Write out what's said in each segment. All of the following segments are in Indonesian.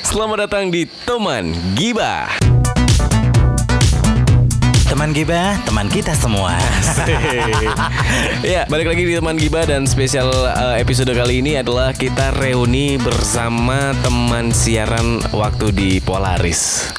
Selamat datang di Teman Gibah. Teman Giba, teman kita semua. ya, balik lagi di Teman Gibah dan spesial eh, episode kali ini adalah kita reuni bersama teman siaran waktu di Polaris.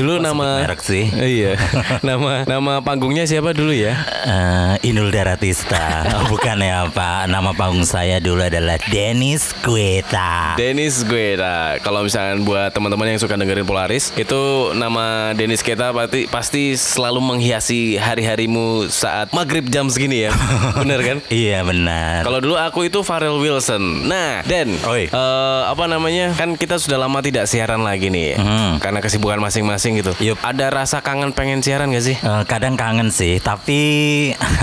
Dulu nama merek sih. Iya. Nama nama panggungnya siapa dulu ya? Eh, Inul Daratista, bukan ya Pak. Nama panggung saya dulu adalah Dennis Queta. Dennis Guetta. Kalau misalkan buat teman-teman yang suka dengerin Polaris, itu nama Dennis Guetta pasti pasti selalu menghiasi hari-harimu saat maghrib jam segini ya. Bener kan? iya benar. Kalau dulu aku itu Farel Wilson. Nah, Den, Oi. eh, apa namanya? Kan kita sudah lama tidak siaran lagi nih, Hmm. karena kesibukan masing-masing gitu. Yup. Ada rasa kangen pengen siaran gak sih? Eh, kadang kangen sih, tapi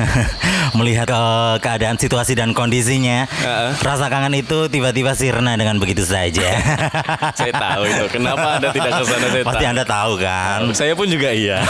melihat eh, keadaan situasi dan kondisinya, Heeh. rasa kangen itu tiba-tiba sirna dengan begitu saja. saya tahu itu. Kenapa Anda tidak kesana? Saya Pasti tahu. Anda tahu kan. Saya pun juga iya.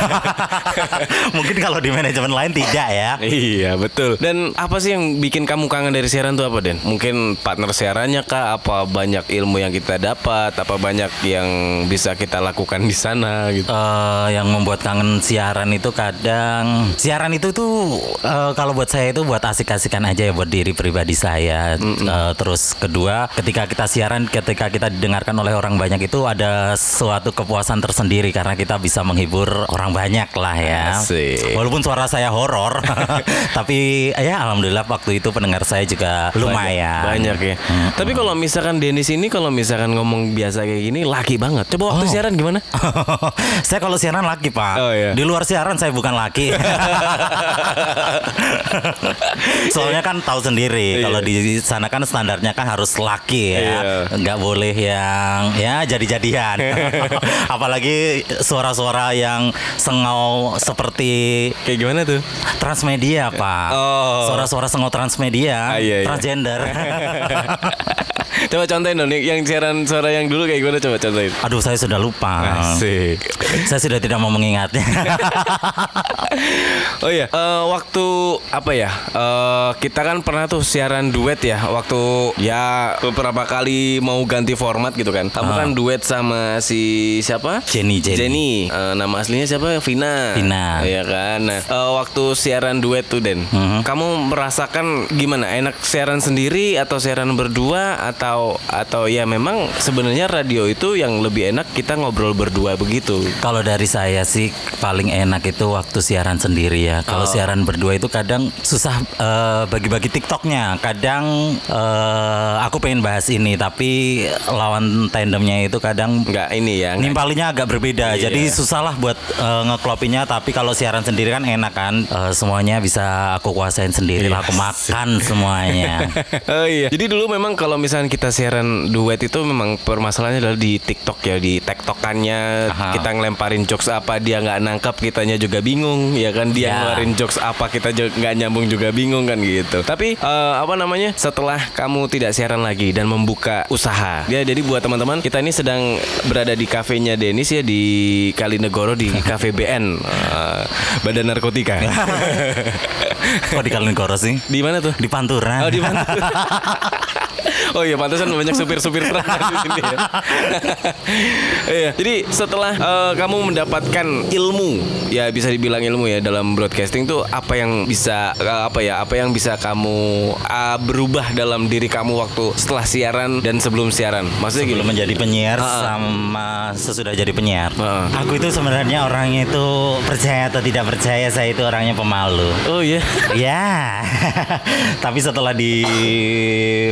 Mungkin kalau di manajemen lain tidak ya. Iya betul. Dan apa sih yang bikin kamu kangen dari siaran tuh apa Den? Mungkin partner siarannya kah? Apa banyak ilmu yang kita dapat? Apa banyak yang bisa kita lakukan di sana gitu? eh yang membuat kangen siaran itu kadang siaran itu tuh eh, kalau buat saya itu buat asik-asikan aja ya buat diri pribadi saya. Eh, terus kedua, ketika kita siaran, ketika kita didengarkan oleh orang banyak itu ada suatu kepuasan tersendiri karena kita bisa menghibur orang banyak lah ya. Asik. Walaupun suara saya horor, tapi eh, ya alhamdulillah waktu itu pendengar saya juga lumayan. Banyak ya. Tapi kalau misalkan Denis ini kalau misalkan ngomong biasa kayak gini laki banget. Coba waktu Oh. siaran gimana? saya kalau siaran laki pak Oh, iya. di luar siaran saya bukan laki soalnya kan tahu sendiri Iya. kalau di sana kan standarnya kan harus laki ya Iya. nggak boleh yang ya jadi-jadian apalagi suara-suara yang sengau seperti Kayak gimana tuh? transmedia pak Oh. suara-suara sengau transmedia Ah, iya, iya. transgender coba contohin dong nih, yang siaran suara yang dulu kayak gimana coba contohin. aduh saya sudah lupa Asik. saya sudah tidak mau mengingatnya Oh iya, eh, waktu apa ya? Eh kita kan pernah tuh siaran duet ya, waktu ya beberapa kali mau ganti format gitu kan. Ah. Kamu kan duet sama si siapa? Jenny, Jenny. Eh, nama aslinya siapa? Vina. Vina. Iya kan. Nah, eh, waktu siaran duet tuh Den, Mhm. kamu merasakan gimana? Enak siaran sendiri atau siaran berdua atau atau ya memang sebenarnya radio itu yang lebih enak kita ngobrol berdua begitu. Kalau dari saya sih paling enak itu waktu siaran sendiri ya. Kalau Oh. siaran berdua itu kadang susah eh, bagi-bagi TikToknya. Kadang eh, aku pengen bahas ini tapi lawan tandemnya itu kadang Enggak ini ya. nggak- nimpalinya agak berbeda. Iya. Jadi susahlah buat eh, ngeklopinya. Tapi kalau siaran sendiri kan enak kan. Eh, semuanya bisa aku kuasain sendiri. lah. Iya. Aku makan semuanya. oh iya. Jadi dulu memang kalau misalnya kita siaran duet itu memang permasalahannya adalah di TikTok ya, di tektokannya Aha. kita ngelemparin jokes apa dia nggak nangkap, kitanya juga bingung, ya kan dia Ya. ngeluarin jokes apa kita ju- nggak nyambung juga bingung kan gitu. Tapi eh, apa namanya? Setelah kamu tidak siaran lagi dan membuka usaha. Ya jadi buat teman-teman, kita ini sedang berada di kafenya Denis ya di Kalinegoro di Cafe BN eh, Badan Narkotika. Kok di Kalimantan sih? di mana tuh? Di Pantura. Oh di mana? oh iya pantesan banyak supir-supir truk di sini ya. iya. Jadi setelah eh, kamu mendapatkan ilmu, ya bisa dibilang ilmu ya dalam broadcasting tuh apa yang bisa eh, apa ya apa yang bisa kamu ah, berubah dalam diri kamu waktu setelah siaran dan sebelum siaran. Maksudnya sebelum gini. menjadi penyiar sama sesudah jadi penyiar. Ah. Aku itu sebenarnya orangnya itu percaya atau tidak percaya saya itu orangnya pemalu. Oh iya. Ya, tapi setelah di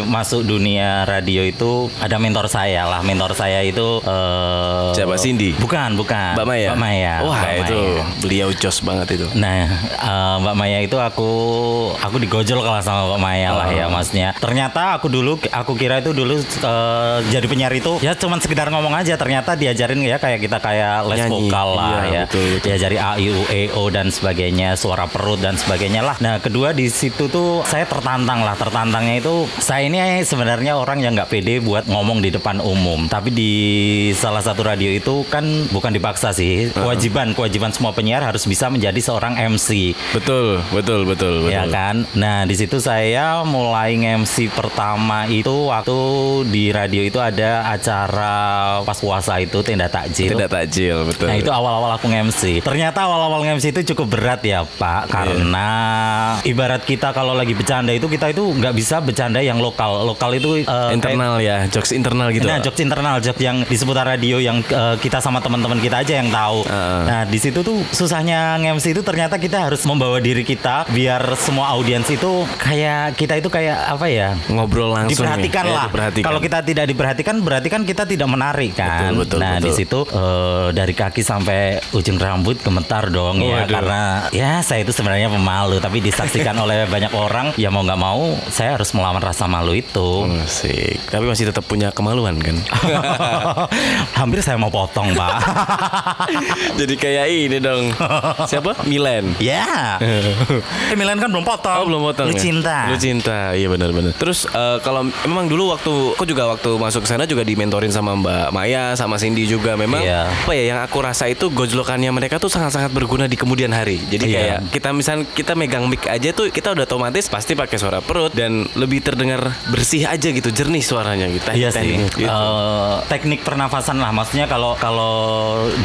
masuk dunia radio itu ada mentor saya lah. Mentor saya itu eh, Siapa, Cindy? Bukan, bukan. Mbak Maya. Mbak Maya. Wah Mbak itu Maya. beliau jos banget itu. Nah, eh, Mbak Maya itu aku aku digojol kalah sama Mbak Maya lah ya masnya. Ternyata aku dulu aku kira itu dulu eh, jadi penyiar itu ya cuman sekedar ngomong aja. Ternyata diajarin ya kayak kita kayak les Nyanyi. vokal lah Iya, ya. betul, betul. Diajari A I U E O dan sebagainya, suara perut dan sebagainya lah. Nah, kedua di situ tuh saya tertantang lah. Tertantangnya itu saya ini sebenarnya sebenarnya orang yang nggak pede buat ngomong di depan umum. Tapi di salah satu radio itu kan bukan dipaksa sih, kewajiban kewajiban semua penyiar harus bisa menjadi seorang MC. Betul, betul, betul, betul. Ya kan. Nah di situ saya mulai MC pertama itu waktu di radio itu ada acara pas puasa itu tenda takjil. Tidak takjil, betul. Nah itu awal-awal aku nge-MC Ternyata awal-awal nge-MC itu cukup berat ya Iya. Pak Karena ibarat kita kalau lagi bercanda itu Kita itu nggak bisa bercanda yang lokal Lokal itu eh, kayak- internal ya, jokes internal gitu. Nah jokes internal Jokes yang di seputar radio Yang eh, kita sama teman-teman kita aja yang tahu Heeh. Nah di situ tuh susahnya nge-MC itu Ternyata kita harus membawa diri kita Biar semua audiens itu Kayak kita itu kayak apa ya Ngobrol langsung. ya. diperhatikan Ya, lah. diperhatikan. Kalau kita tidak diperhatikan, berarti kan kita tidak menarik kan. Betul, betul, nah betul. di situ eh, dari kaki sampai ujung rambut gemetar dong ya, Waduh. karena ya saya itu sebenarnya pemalu, tapi disaksikan oleh banyak orang, ya mau nggak mau saya harus melawan rasa malu itu. Asik. Oh, Tapi masih tetap punya kemaluan kan? Hampir saya mau potong pak. Jadi kayak ini dong. Siapa? Milen. ya. Eh, Milan kan belum potong. Oh belum potong Lu ya? cinta. Lu cinta Iya benar-benar Terus eh, kalau memang dulu waktu Aku juga waktu masuk ke sana juga dimentorin sama Mbak Maya Sama Cindy juga Memang Iya. apa ya yang aku rasa itu Gojlokannya mereka tuh sangat-sangat berguna di kemudian hari Jadi Iya. kayak kita misal kita megang mic aja tuh Kita udah otomatis pasti pakai suara perut Dan lebih terdengar bersih aja gitu Jernih suaranya gitu Iya sih. teknik gitu. Eh, teknik pernafasan lah. Maksudnya kalau kalau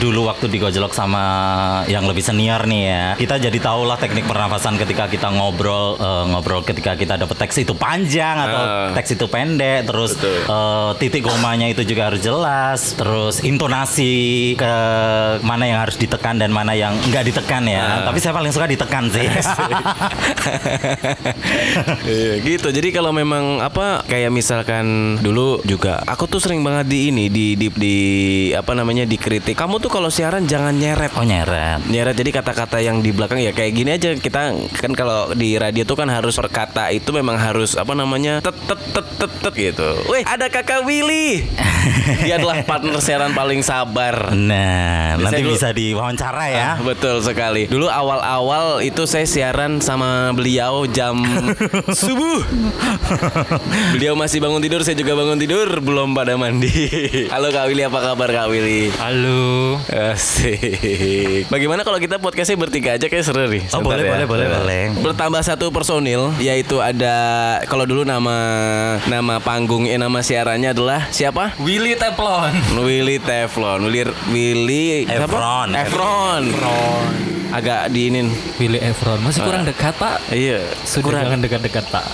dulu waktu digojlok sama yang lebih senior nih ya, kita jadi tahulah teknik pernafasan ketika kita ngobrol eh, ngobrol ketika kita dapet teks itu panjang atau Ah. teks itu pendek, terus Betul. eh, titik komanya itu juga harus jelas, terus intonasi ke mana yang harus ditekan dan mana yang nggak ditekan ya. Ah. Tapi saya paling suka ditekan sih. Iya, gitu. Jadi kalau memang apa kayak misalkan dulu juga aku tuh sering banget di ini di di, di apa namanya dikritik. Kamu tuh kalau siaran jangan nyeret. oh nyeret. Nyeret jadi kata-kata yang di belakang ya kayak gini aja kita kan kalau di radio tuh kan harus perkata itu memang harus apa namanya tet tet tet tet, tet gitu. Weh, ada Kakak Willy. Dia adalah partner siaran paling sabar. Nah, Biasanya nanti dulu- bisa diwawancara ya. Ah, betul sekali. Dulu awal-awal itu saya siaran sama beliau jam subuh. Beliau masih bangun tidur, saya juga bangun tidur, belum pada mandi. Halo Kak Willy, apa kabar Kak Willy? Halo. Asik. Bagaimana kalau kita podcastnya bertiga aja kayak seru nih. Oh, Sebentar boleh, ya. boleh, boleh, boleh. Bertambah satu personil yaitu ada kalau dulu nama nama panggung eh nama siarannya adalah siapa? Willy Teflon. Willy Teflon, Willy Willy siapa? Efron. Efron. Agak diinin. Willy Efron. Masih kurang Eh. dekat, Pak. Iya, Sudah kurang. jangan dekat-dekat, Pak.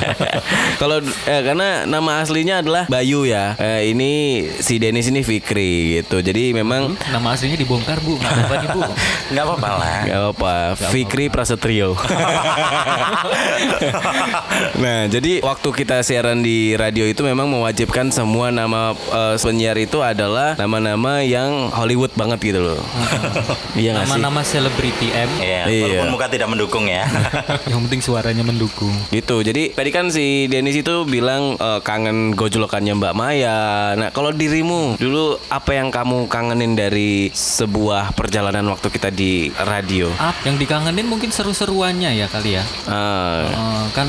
Kalau eh, karena nama aslinya adalah Bayu ya. Eh, ini si Denis ini Fikri gitu. Jadi memang Nama aslinya dibongkar, Bu. Enggak apa-apa nih, Bu. Nggak apa-apa lah. Gak apa-apa, Fikri Prasetyo. nah, jadi waktu kita siaran di radio itu memang mewajibkan semua nama eh, penyiar itu adalah nama-nama yang Hollywood banget gitu loh. iya nggak sih? Nama-nama selebriti M. Iya, Iya. walaupun muka tidak mendukung ya. Yang penting suaranya mendukung. Gitu. Jadi tadi kan si Denis itu bilang eh, kangen gojolokannya Mbak Maya. Nah, kalau dirimu dulu apa yang kamu kangenin dari sebuah perjalanan waktu kita di radio? Up Ah, yang dikangenin mungkin seru-seruannya ya kali ya. Iya. Ah, Eh, kan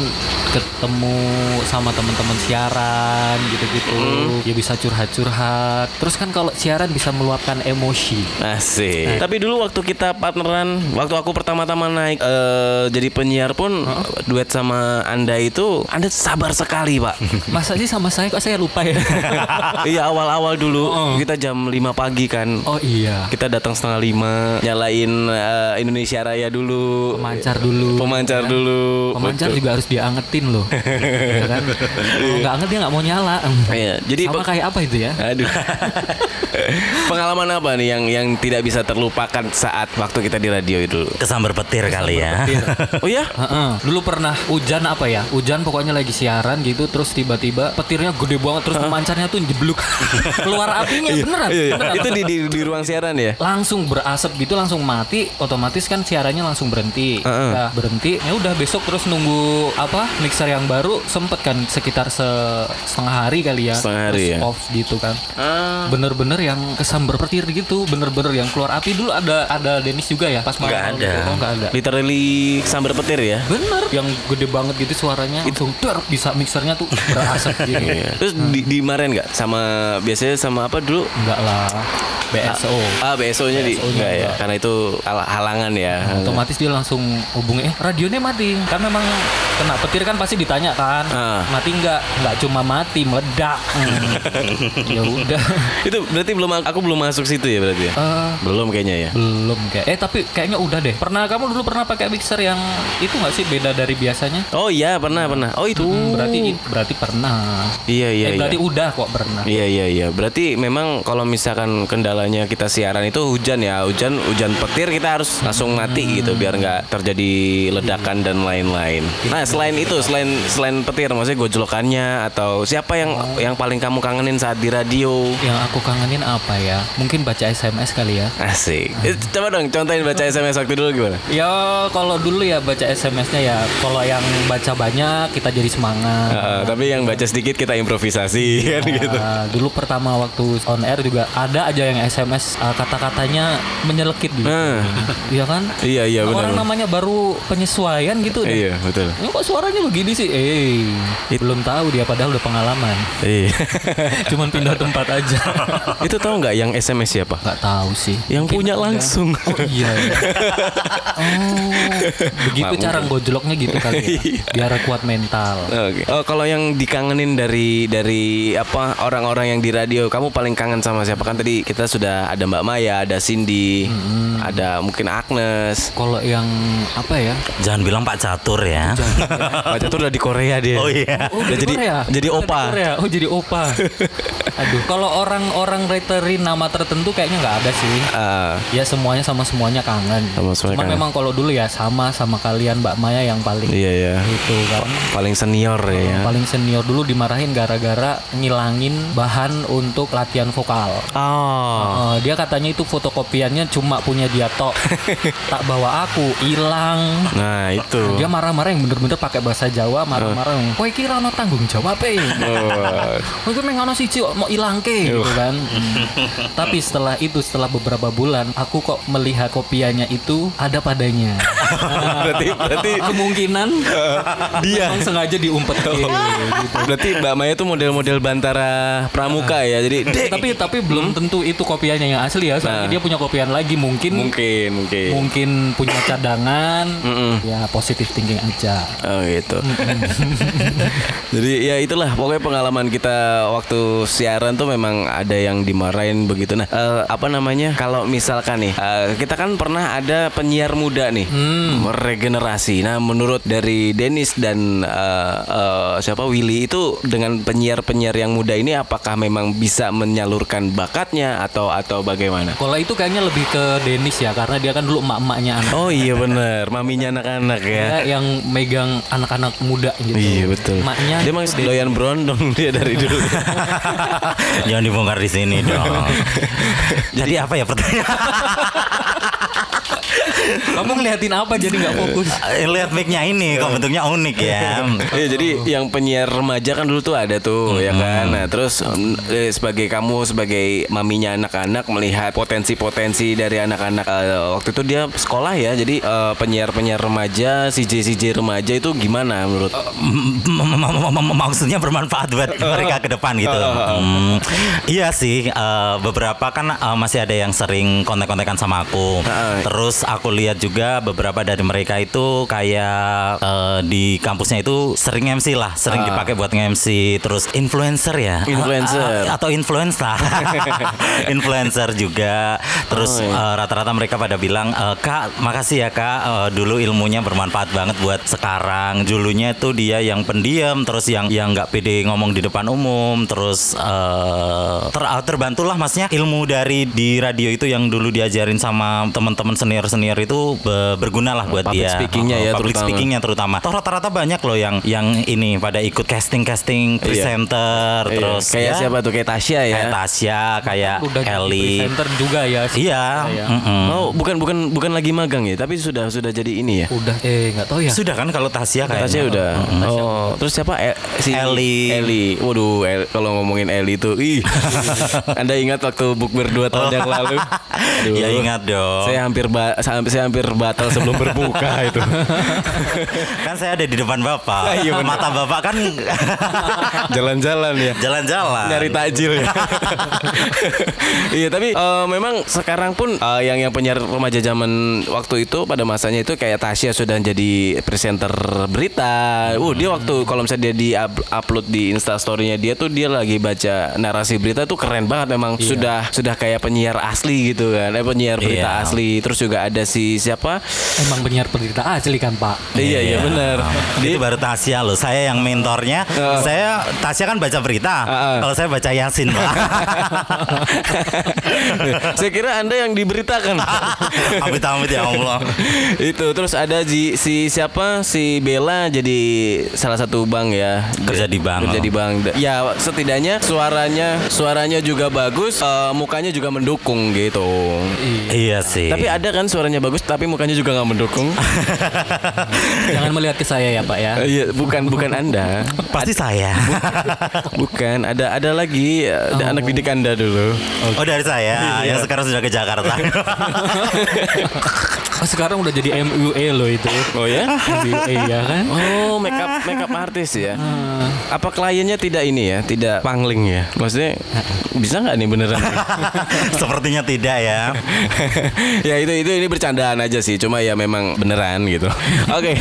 ketemu sama teman-teman siaran gitu-gitu. Mm-hmm. Ya bisa curhat-curhat. Terus kan kalau siaran bisa meluapkan emosi. Asik. Tapi dulu waktu kita partneran, waktu aku pertama-tama naik eh, jadi penyiar pun duet sama Anda itu Anda sabar sekali, Pak. Masa sih sama saya kok saya lupa ya? iya, awal-awal dulu kita jam 5 pagi kan. oh iya. Kita datang setengah lima, nyalain eh, Indonesia Raya dulu. Pemancar dulu. Ya. Pemancar dulu. Pemancar Betul. juga harus diangetin loh. Iya kan? Kalau nggak anget dia nggak mau nyala. Iya, jadi Sama pe- kayak apa itu ya? Aduh. Pengalaman apa nih yang yang tidak bisa terlupakan saat waktu kita di radio itu? Kesambar petir kali ya. Oh ya? Heeh. Dulu pernah hujan apa ya? Hujan pokoknya lagi siaran gitu terus tiba-tiba petirnya gede banget terus pemancarnya tuh jebluk. Keluar apinya beneran. Iya, iya. beneran. Itu di, di di ruang siaran ya? langsung berasap gitu langsung mati otomatis kan siarannya langsung berhenti Nah, berhenti ya udah besok terus nunggu apa mixer yang baru sempet kan sekitar se- setengah hari kali ya Setengah hari, Terus ya. off gitu Ah. kan bener-bener yang kesambar petir gitu bener-bener yang keluar api dulu ada ada Dennis juga juga ya pas malam Nggak malam ada. itu? Oh, nggak ada. Literally sambar petir ya. Bener. Yang gede banget gitu suaranya. Itu dar bisa mixernya tuh berasap gitu. Iya. Terus di dimarahin nggak sama biasanya sama apa dulu? Enggak lah. BSO. Ah BSO-nya di BSO-nya enggak ya, enggak. karena itu hal- halangan ya. Otomatis dia langsung hubungi eh radionya mati. Kan memang kena petir kan pasti ditanya kan. Ah. Mati nggak? Nggak cuma mati, meledak. Hmm. ya udah. Itu berarti belum aku belum masuk situ ya berarti ya. Eh, belum kayaknya ya. belum kayak eh tapi kayaknya udah deh pernah kamu dulu pernah pakai mixer yang itu nggak sih beda dari biasanya Oh iya pernah pernah. Oh itu. Hmm, berarti berarti pernah Iya iya eh, iya. berarti udah kok pernah Iya iya iya. Berarti memang kalau misalkan kendalanya kita siaran itu hujan ya, hujan hujan petir kita harus langsung mati gitu biar nggak terjadi ledakan dan lain-lain. Nah selain itu selain selain petir maksudnya gojlokannya atau siapa yang yang paling kamu kangenin saat di radio? yang aku kangenin apa ya mungkin baca SMS kali ya Asik. Eh, Coba dong contohin baca SMS waktu dulu gimana? Ya kalau dulu ya baca SMS-nya ya kalau yang baca banyak kita jadi semangat. Heeh, Eh, tapi yang baca sedikit kita improvisasi kan gitu. Ah, dulu pertama waktu on air juga ada aja yang SMS ah, kata-katanya menyelekit gitu. Nah, Iya kan? iya iya Orang benar. namanya baru penyesuaian gitu deh. Iya betul. Ini kok suaranya begini sih? Eh, belum tahu dia padahal udah pengalaman. Iya. Cuman pindah tempat aja. itu tahu nggak yang SMS siapa? Gak tahu sih. Yang punya langsung. Oh iya. iya. oh, begitu Mak- cara gojloknya gitu kali ya. Iya. Biar kuat mental. Oke. Oh, kalau yang dikangenin dari dari apa orang-orang yang di radio, kamu paling kangen sama siapa? Kan tadi kita sudah ada Mbak Maya, ada Cindy, ada mungkin Agnes. Kalau yang apa ya? Jangan bilang Pak Catur ya. Pak Catur udah di Korea dia. Oh iya. Oh, Udah di jadi- Korea? jadi Oh, di opa. Korea. Oh, jadi opa. Aduh, kalau orang-orang writerin nama tertentu kayaknya nggak ada sih. Ah, Ya semuanya sama semuanya kangen. Sama semuanya Cuman kangen. memang kalau dulu ya sama sama kalian Mbak Maya yang paling iya ya. itu kan. Paling senior ya. Paling senior dulu dimarahin gara-gara ngilangin bahan untuk latihan vokal. Oh. Eh, dia katanya itu fotokopiannya cuma punya dia tok. tak bawa aku, hilang. Nah, itu. Dia marah-marah yang bener-bener pakai bahasa Jawa, marah-marah yang kowe kira ono tanggung jawab e. Oh. Kowe ku meng ono siji kok mau ilangke gitu kan. Tapi setelah itu setelah beberapa bulan aku kok melihat kopiannya itu ada padanya. berarti berarti Kemungkinan eh, dia memang sengaja diumpetin. berarti Mbak Maya tuh model-model Bantara Pramuka ya. Jadi Dek! tapi tapi belum tentu itu kopiannya yang asli ya. Soalnya dia punya kopian lagi mungkin mungkin mungkin. mungkin punya cadangan. Mm-mm. Ya positif thinking aja. Oh gitu. Jadi ya itulah pokoknya pengalaman kita waktu siaran tuh memang ada yang dimarahin begitu. Nah, eh, apa namanya? Kalau misalkan nih, eh, kita kan pernah ada penyiar muda nih Hmm. meregenerasi. Nah, menurut dari Dennis dan eh, eh, siapa Willy itu dengan penyiar-penyiar yang muda ini apakah memang bisa menyalurkan bakatnya atau atau bagaimana? Kalau itu kayaknya lebih ke Dennis ya karena dia kan dulu emak-emaknya anak. Oh iya bener, maminya anak-anak ya. Dia yang megang anak-anak muda gitu. Iya betul. Maknya dia emang doyan brondong dia dari dulu. Jangan dibongkar di sini dong. Jadi apa ya pertanyaan? kamu ngeliatin apa jadi nggak fokus. Eh, Lihat mic-nya ini kok bentuknya unik ya. Iya jadi yang penyiar remaja kan dulu tuh ada tuh Hmm. ya kan. Nah, terus em, eh, sebagai kamu sebagai maminya anak-anak melihat potensi-potensi dari anak-anak eh, waktu itu dia sekolah ya. Jadi eh, penyiar-penyiar remaja, CJ-CJ remaja itu gimana menurut? Oh, M- m- m- m- maksudnya bermanfaat buat mereka ke depan gitu. Hmm, iya sih, eh, beberapa kan eh, masih ada yang sering kontak-kontakan sama aku. Terus aku lihat juga beberapa dari mereka itu kayak eh, di kampusnya itu sering MC lah, sering dipakai buat MC. Terus influencer ya, Influencer. atau influencer, influencer juga. Oh, Terus iya. eh, rata-rata mereka pada bilang, "Eh, kak, makasih ya kak, Eh, dulu ilmunya bermanfaat banget buat sekarang. Dulunya tuh dia yang pendiam, terus yang yang nggak pede ngomong di depan umum, terus eh, ter eh, terbantulah masnya ilmu dari di radio itu yang dulu diajarin sama teman-teman senior senior itu be- berguna lah buat Public dia. speaking-nya Eh, ya public terutama. speaking-nya terutama. Toh rata-rata banyak loh yang yang ini pada ikut casting casting presenter, Iya, terus kayak ya, siapa tuh kayak Tasya ya. kayak Tasya, Iya, kayak Udah jadi Ellie. presenter juga ya. sih. Iya. mm-mm. Oh, bukan bukan bukan lagi magang ya, tapi sudah sudah jadi ini ya. Udah eh nggak tahu ya. Sudah kan kalau Tasya kayaknya. Tasya iya. udah. Oh, terus siapa? El, si Eli. Eli. Waduh, El- kalau ngomongin Eli itu, ih. Anda ingat waktu bukber 2 tahun yang lalu? Aduh. ya ingat dong. Saya hampir ba- sampai saya hampir batal sebelum berbuka itu. kan saya ada di depan bapak. Iya, bener. Mata bapak kan Jalan-jalan ya. jalan-jalan. nyari takjil ya. Iya tapi eh, memang sekarang pun eh, yang yang penyiar remaja zaman waktu itu pada masanya itu kayak Tasya sudah jadi presenter berita. Uh dia waktu kalau misalnya dia di up- upload di Insta story-nya dia tuh dia lagi baca narasi berita tuh keren banget memang sudah sudah kayak penyiar asli gitu kan. Eh penyiar berita Iya. asli. Terus juga ada si siapa? Emang penyiar penderita asli kan Pak? Iya iya benar. Itu baru Tasya loh. Saya yang mentornya. Saya Tasya kan baca berita. Heeh. Kalau saya baca Yasin, Pak. Saya kira Anda yang diberitakan. Amit-amit ya Allah. itu terus ada si, si siapa si Bella jadi salah satu bank ya Kerja di bank. kerja di bank Da- ya setidaknya suaranya suaranya juga bagus eh, mukanya juga mendukung gitu Iya sih. tapi ada kan suaranya bagus tapi mukanya juga nggak mendukung Jangan melihat ke saya ya Pak ya. Eh, iya bukan bukan anda pasti saya. bukan ada ada lagi eh, ada anak didik anda dulu Oh dari saya Iya. yang sekarang sudah ke Jakarta. Oh, sekarang udah jadi MUA loh itu. oh ya MUA ya kan? Eh, Oh, makeup makeup artis ya. Apa kliennya tidak ini ya, tidak pangling ya? Maksudnya bisa nggak nih beneran? Sepertinya tidak ya. ya itu itu ini bercandaan aja sih, cuma ya memang beneran gitu. Oke.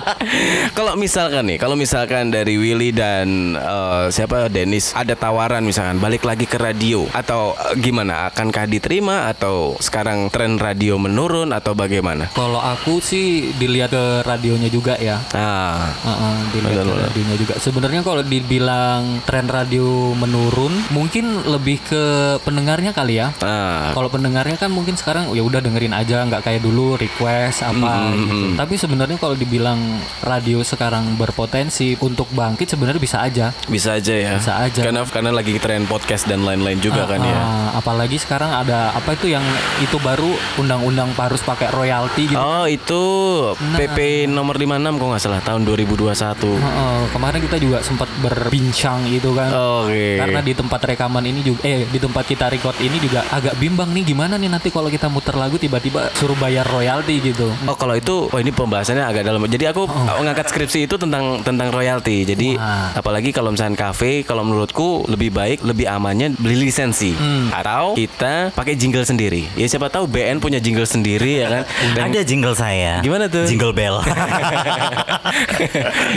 kalau misalkan nih, kalau misalkan dari Willy dan eh, siapa Dennis ada tawaran misalkan balik lagi ke radio atau eh, gimana? Akankah diterima atau sekarang tren radio menurun atau bagaimana? Kalau aku sih dilihat ke radionya juga ya. Nah, Heeh, dilihat ya. ke radionya juga. Sebenarnya kalau dibilang tren radio menurun, mungkin lebih ke pendengarnya kali ya. nah, Kalau pendengarnya kan mungkin sekarang ya udah dengerin aja, nggak kayak dulu request Mm-hmm, apa gitu. Tapi sebenarnya kalau dibilang radio sekarang berpotensi untuk bangkit sebenarnya bisa aja. bisa aja ya. Bisa aja. Karena karena lagi tren podcast dan lain-lain juga kan ya. Ah, apalagi sekarang ada apa itu yang itu baru undang-undang harus pakai royalti gitu. Oh itu PP Nah. nomor 56 kok nggak salah tahun 2021. Heeh, kemarin kita juga sempat berbincang itu kan. Oke. Karena di tempat rekaman ini juga eh di tempat kita record ini juga agak bimbang nih gimana nih nanti kalau kita muter lagu tiba-tiba suruh bayar royalti gitu. Oh kalau itu, oh ini pembahasannya agak dalam. Jadi aku ngangkat skripsi itu tentang tentang royalti. Jadi Oh. Wah. apalagi kalau misalnya kafe, kalau menurutku lebih baik, lebih amannya beli lisensi Hmm. atau kita pakai jingle sendiri. Ya siapa tahu BN punya jingle sendiri ya kan. Dan- Ada jingle saya. Gimana tuh? Jingle bell.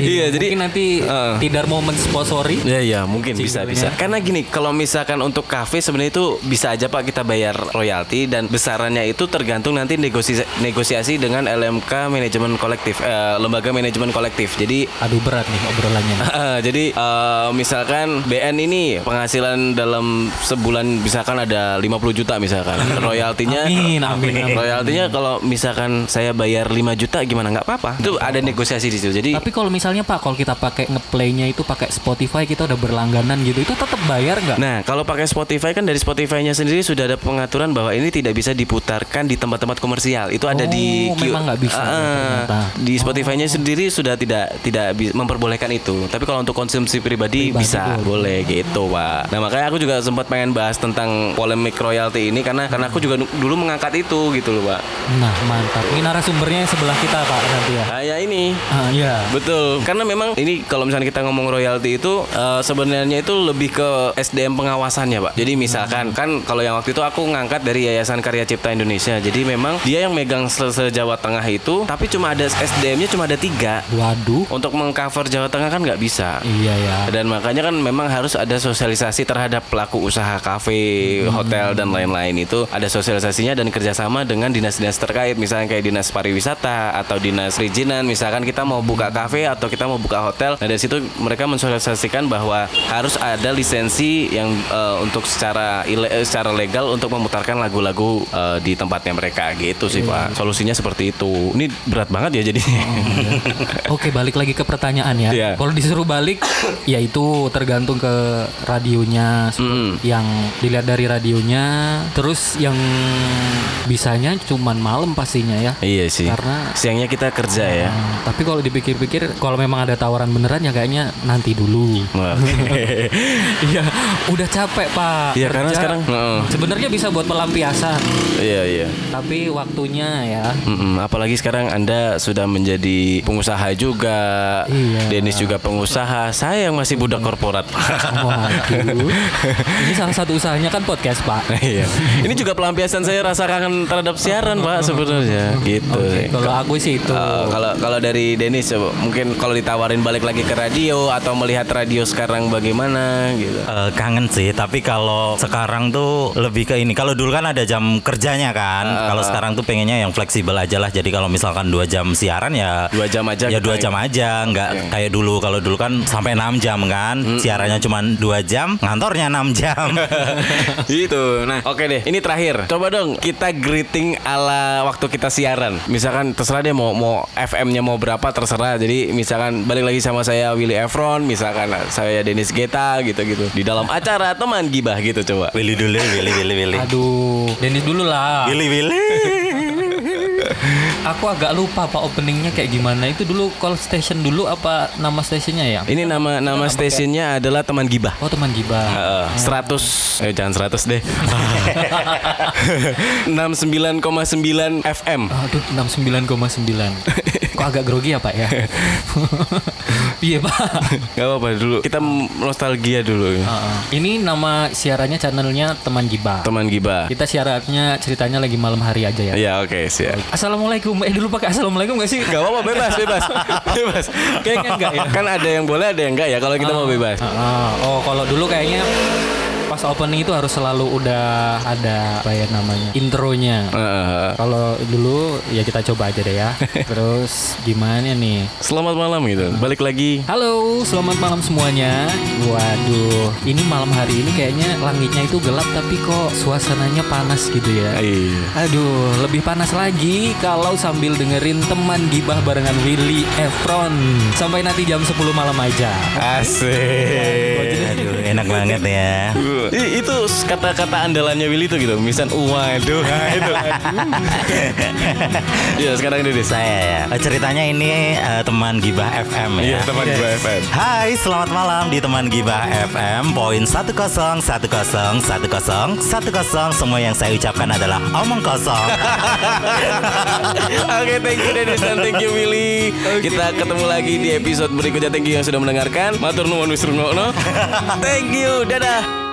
iya jadi mungkin nanti Heeh. tidak mau mensponsori. Ya ya mungkin bisa bisa. Karena gini, kalau misalkan untuk kafe sebenarnya itu bisa aja Pak kita bayar royalti dan besarannya itu tergantung nanti negosiasi negosiasi dengan LMK manajemen kolektif eh, lembaga manajemen kolektif. Jadi Aduh berat nih obrolannya. eh, jadi eh, misalkan BN ini penghasilan dalam sebulan misalkan ada 50 juta misalkan. Royaltinya Amin, amin, amin. Royaltinya kalau misalkan saya bayar 5 juta gimana nggak apa-apa. Itu ada negosiasi di situ. Jadi Tapi kalau misalnya Pak kalau kita pakai ngeplaynya itu pakai Spotify kita udah berlangganan gitu itu tetap bayar nggak? Nah, kalau pakai Spotify kan dari Spotify-nya sendiri sudah ada pengaturan bahwa ini tidak bisa diputarkan di tempat-tempat komersial. Itu ada Oh, di memang nggak bisa Ah, ya, ternyata. di Spotify-nya sendiri sudah tidak tidak bi- memperbolehkan itu. Tapi kalau untuk konsumsi pribadi, Pribadi bisa, boleh gitu, Pak. Nah, makanya aku juga sempat pengen bahas tentang polemik royalti ini karena karena aku juga nu- dulu mengangkat itu gitu loh, Pak. Nah mantap. Ini narasumbernya yang sebelah kita Pak nanti ya. Kayak Nah, ini Ah, iya. Betul. Karena memang ini kalau misalnya kita ngomong royalti itu eh, sebenarnya itu lebih ke SDM pengawasannya, Pak. Jadi misalkan kan kalau yang waktu itu aku ngangkat dari Yayasan Karya Cipta Indonesia. Jadi memang dia yang megang se Jawa Tengah itu, tapi cuma ada SDM-nya cuma ada tiga. Waduh. Untuk mengcover Jawa Tengah kan nggak bisa. Iya ya. Dan makanya kan memang harus ada sosialisasi terhadap pelaku usaha kafe, hotel dan lain-lain itu ada sosialisasinya dan kerjasama dengan dinas-dinas terkait, misalnya kayak dinas pariwisata atau dinas perizinan, misalkan kita mau buka kafe atau kita mau buka hotel, nah dari situ mereka mensosialisasikan bahwa harus ada lisensi yang eh, untuk secara ile- eh, secara legal untuk memutarkan lagu-lagu eh, di tempatnya mereka gitu sih pak. Solusinya seperti itu. Ini berat banget ya jadi. Oke balik lagi ke pertanyaan ya. Iya. Kalau disuruh balik, ya itu tergantung ke radionya, Mm. yang dilihat dari radionya, terus yang bisanya cuman malam pastinya ya. iya sih. Karena- siangnya kita kerja ya. Nah, Tapi kalau dipikir-pikir, kalau memang ada tawaran beneran ya kayaknya nanti dulu. Oke. Iya, udah udah capek pak. Iya, karena Kerja. sekarang, heeh. sebenarnya bisa buat pelampiasan, Iya iya. tapi waktunya ya. Mm-mm, apalagi sekarang Anda sudah menjadi pengusaha juga. Iya. Denis juga pengusaha. Saya yang masih budak korporat. Waduh. Ini salah satu usahanya kan podcast pak. Iya. Ini juga pelampiasan saya rasa kangen terhadap siaran, Pak, sebenarnya. Gitu. sih. Kalau aku sih itu. Eh, kalau kalau dari Denis coba, mungkin kalau ditawarin balik lagi ke radio atau melihat radio sekarang bagaimana gitu. Eh, kangen sih, tapi kalau sekarang tuh lebih ke ini. Kalau dulu kan ada jam kerjanya kan. Ah, kalau sekarang tuh pengennya yang fleksibel aja lah. Jadi kalau misalkan dua jam siaran ya Dua jam aja gitu Iya. Ya kita- dua jam aja, nggak kayak dulu. Kalau dulu kan sampai 6 jam kan. Siarannya cuma dua jam, ngantornya 6 jam. gitu. Nah, oke deh. Ini terakhir. Coba dong kita greeting ala waktu kita siaran. Misalkan terserah deh mau mau FM-nya mau berapa terserah. Jadi misalkan balik lagi sama saya Willy Efron, misalkan saya Dennis Geta gitu-gitu. Di dalam acara teman gibah gitu coba. Willy dulu, Willy, Willy, Willy. Aduh, Denis Eh, dulu lah. Willy, Willy. Aku agak lupa pak openingnya kayak gimana. Itu dulu call station dulu apa nama stationnya ya? Ini nama nama stasiunnya adalah teman gibah. Oh teman Giba. Heeh, 100 eh jangan 100 deh. 69,9 FM. Aduh 69,9. Kok agak grogi ya pak ya? Iya pak. Gak apa-apa dulu. Kita nostalgia dulu. Heeh. Ini nama siarannya channelnya teman Giba. Teman gibah. Kita siarannya ceritanya lagi malam hari aja ya. Ya oke siap. Assalamualaikum. Eh dulu pakai assalamualaikum gak sih? Gak apa-apa bebas bebas bebas. Kayaknya enggak ya. Kan ada yang boleh ada yang enggak ya kalau kita mau bebas. Ah, oh kalau dulu kayaknya pas opening itu harus selalu udah ada apa ya namanya intronya. Heeh. Kalau dulu ya kita coba aja deh ya. Terus gimana nih? selamat malam gitu. Balik lagi. Halo, selamat malam semuanya. Waduh, ini malam hari ini kayaknya langitnya itu gelap tapi kok suasananya panas gitu ya. Iya. Aduh, lebih panas lagi kalau sambil dengerin teman gibah barengan Willy Efron. Sampai nanti jam 10 malam aja. Asik. Aduh, enak banget ya. I- itu kata-kata andalannya Willy itu gitu. Misal waduh nah, itu. Iya, sekarang Denis. Saya ya. Eh, Ceritanya ini eh, teman Gibah FM ya. Iya, teman gibah FM. Hai, selamat malam di teman Gibah FM. Poin 10 10 10 10 10 semua yang saya ucapkan adalah omong kosong. Oke, thank you Dennis dan thank you Willy. Kita ketemu lagi di episode berikutnya. Thank you yang sudah mendengarkan. Matur nuwun wisnu Thank you. Dadah.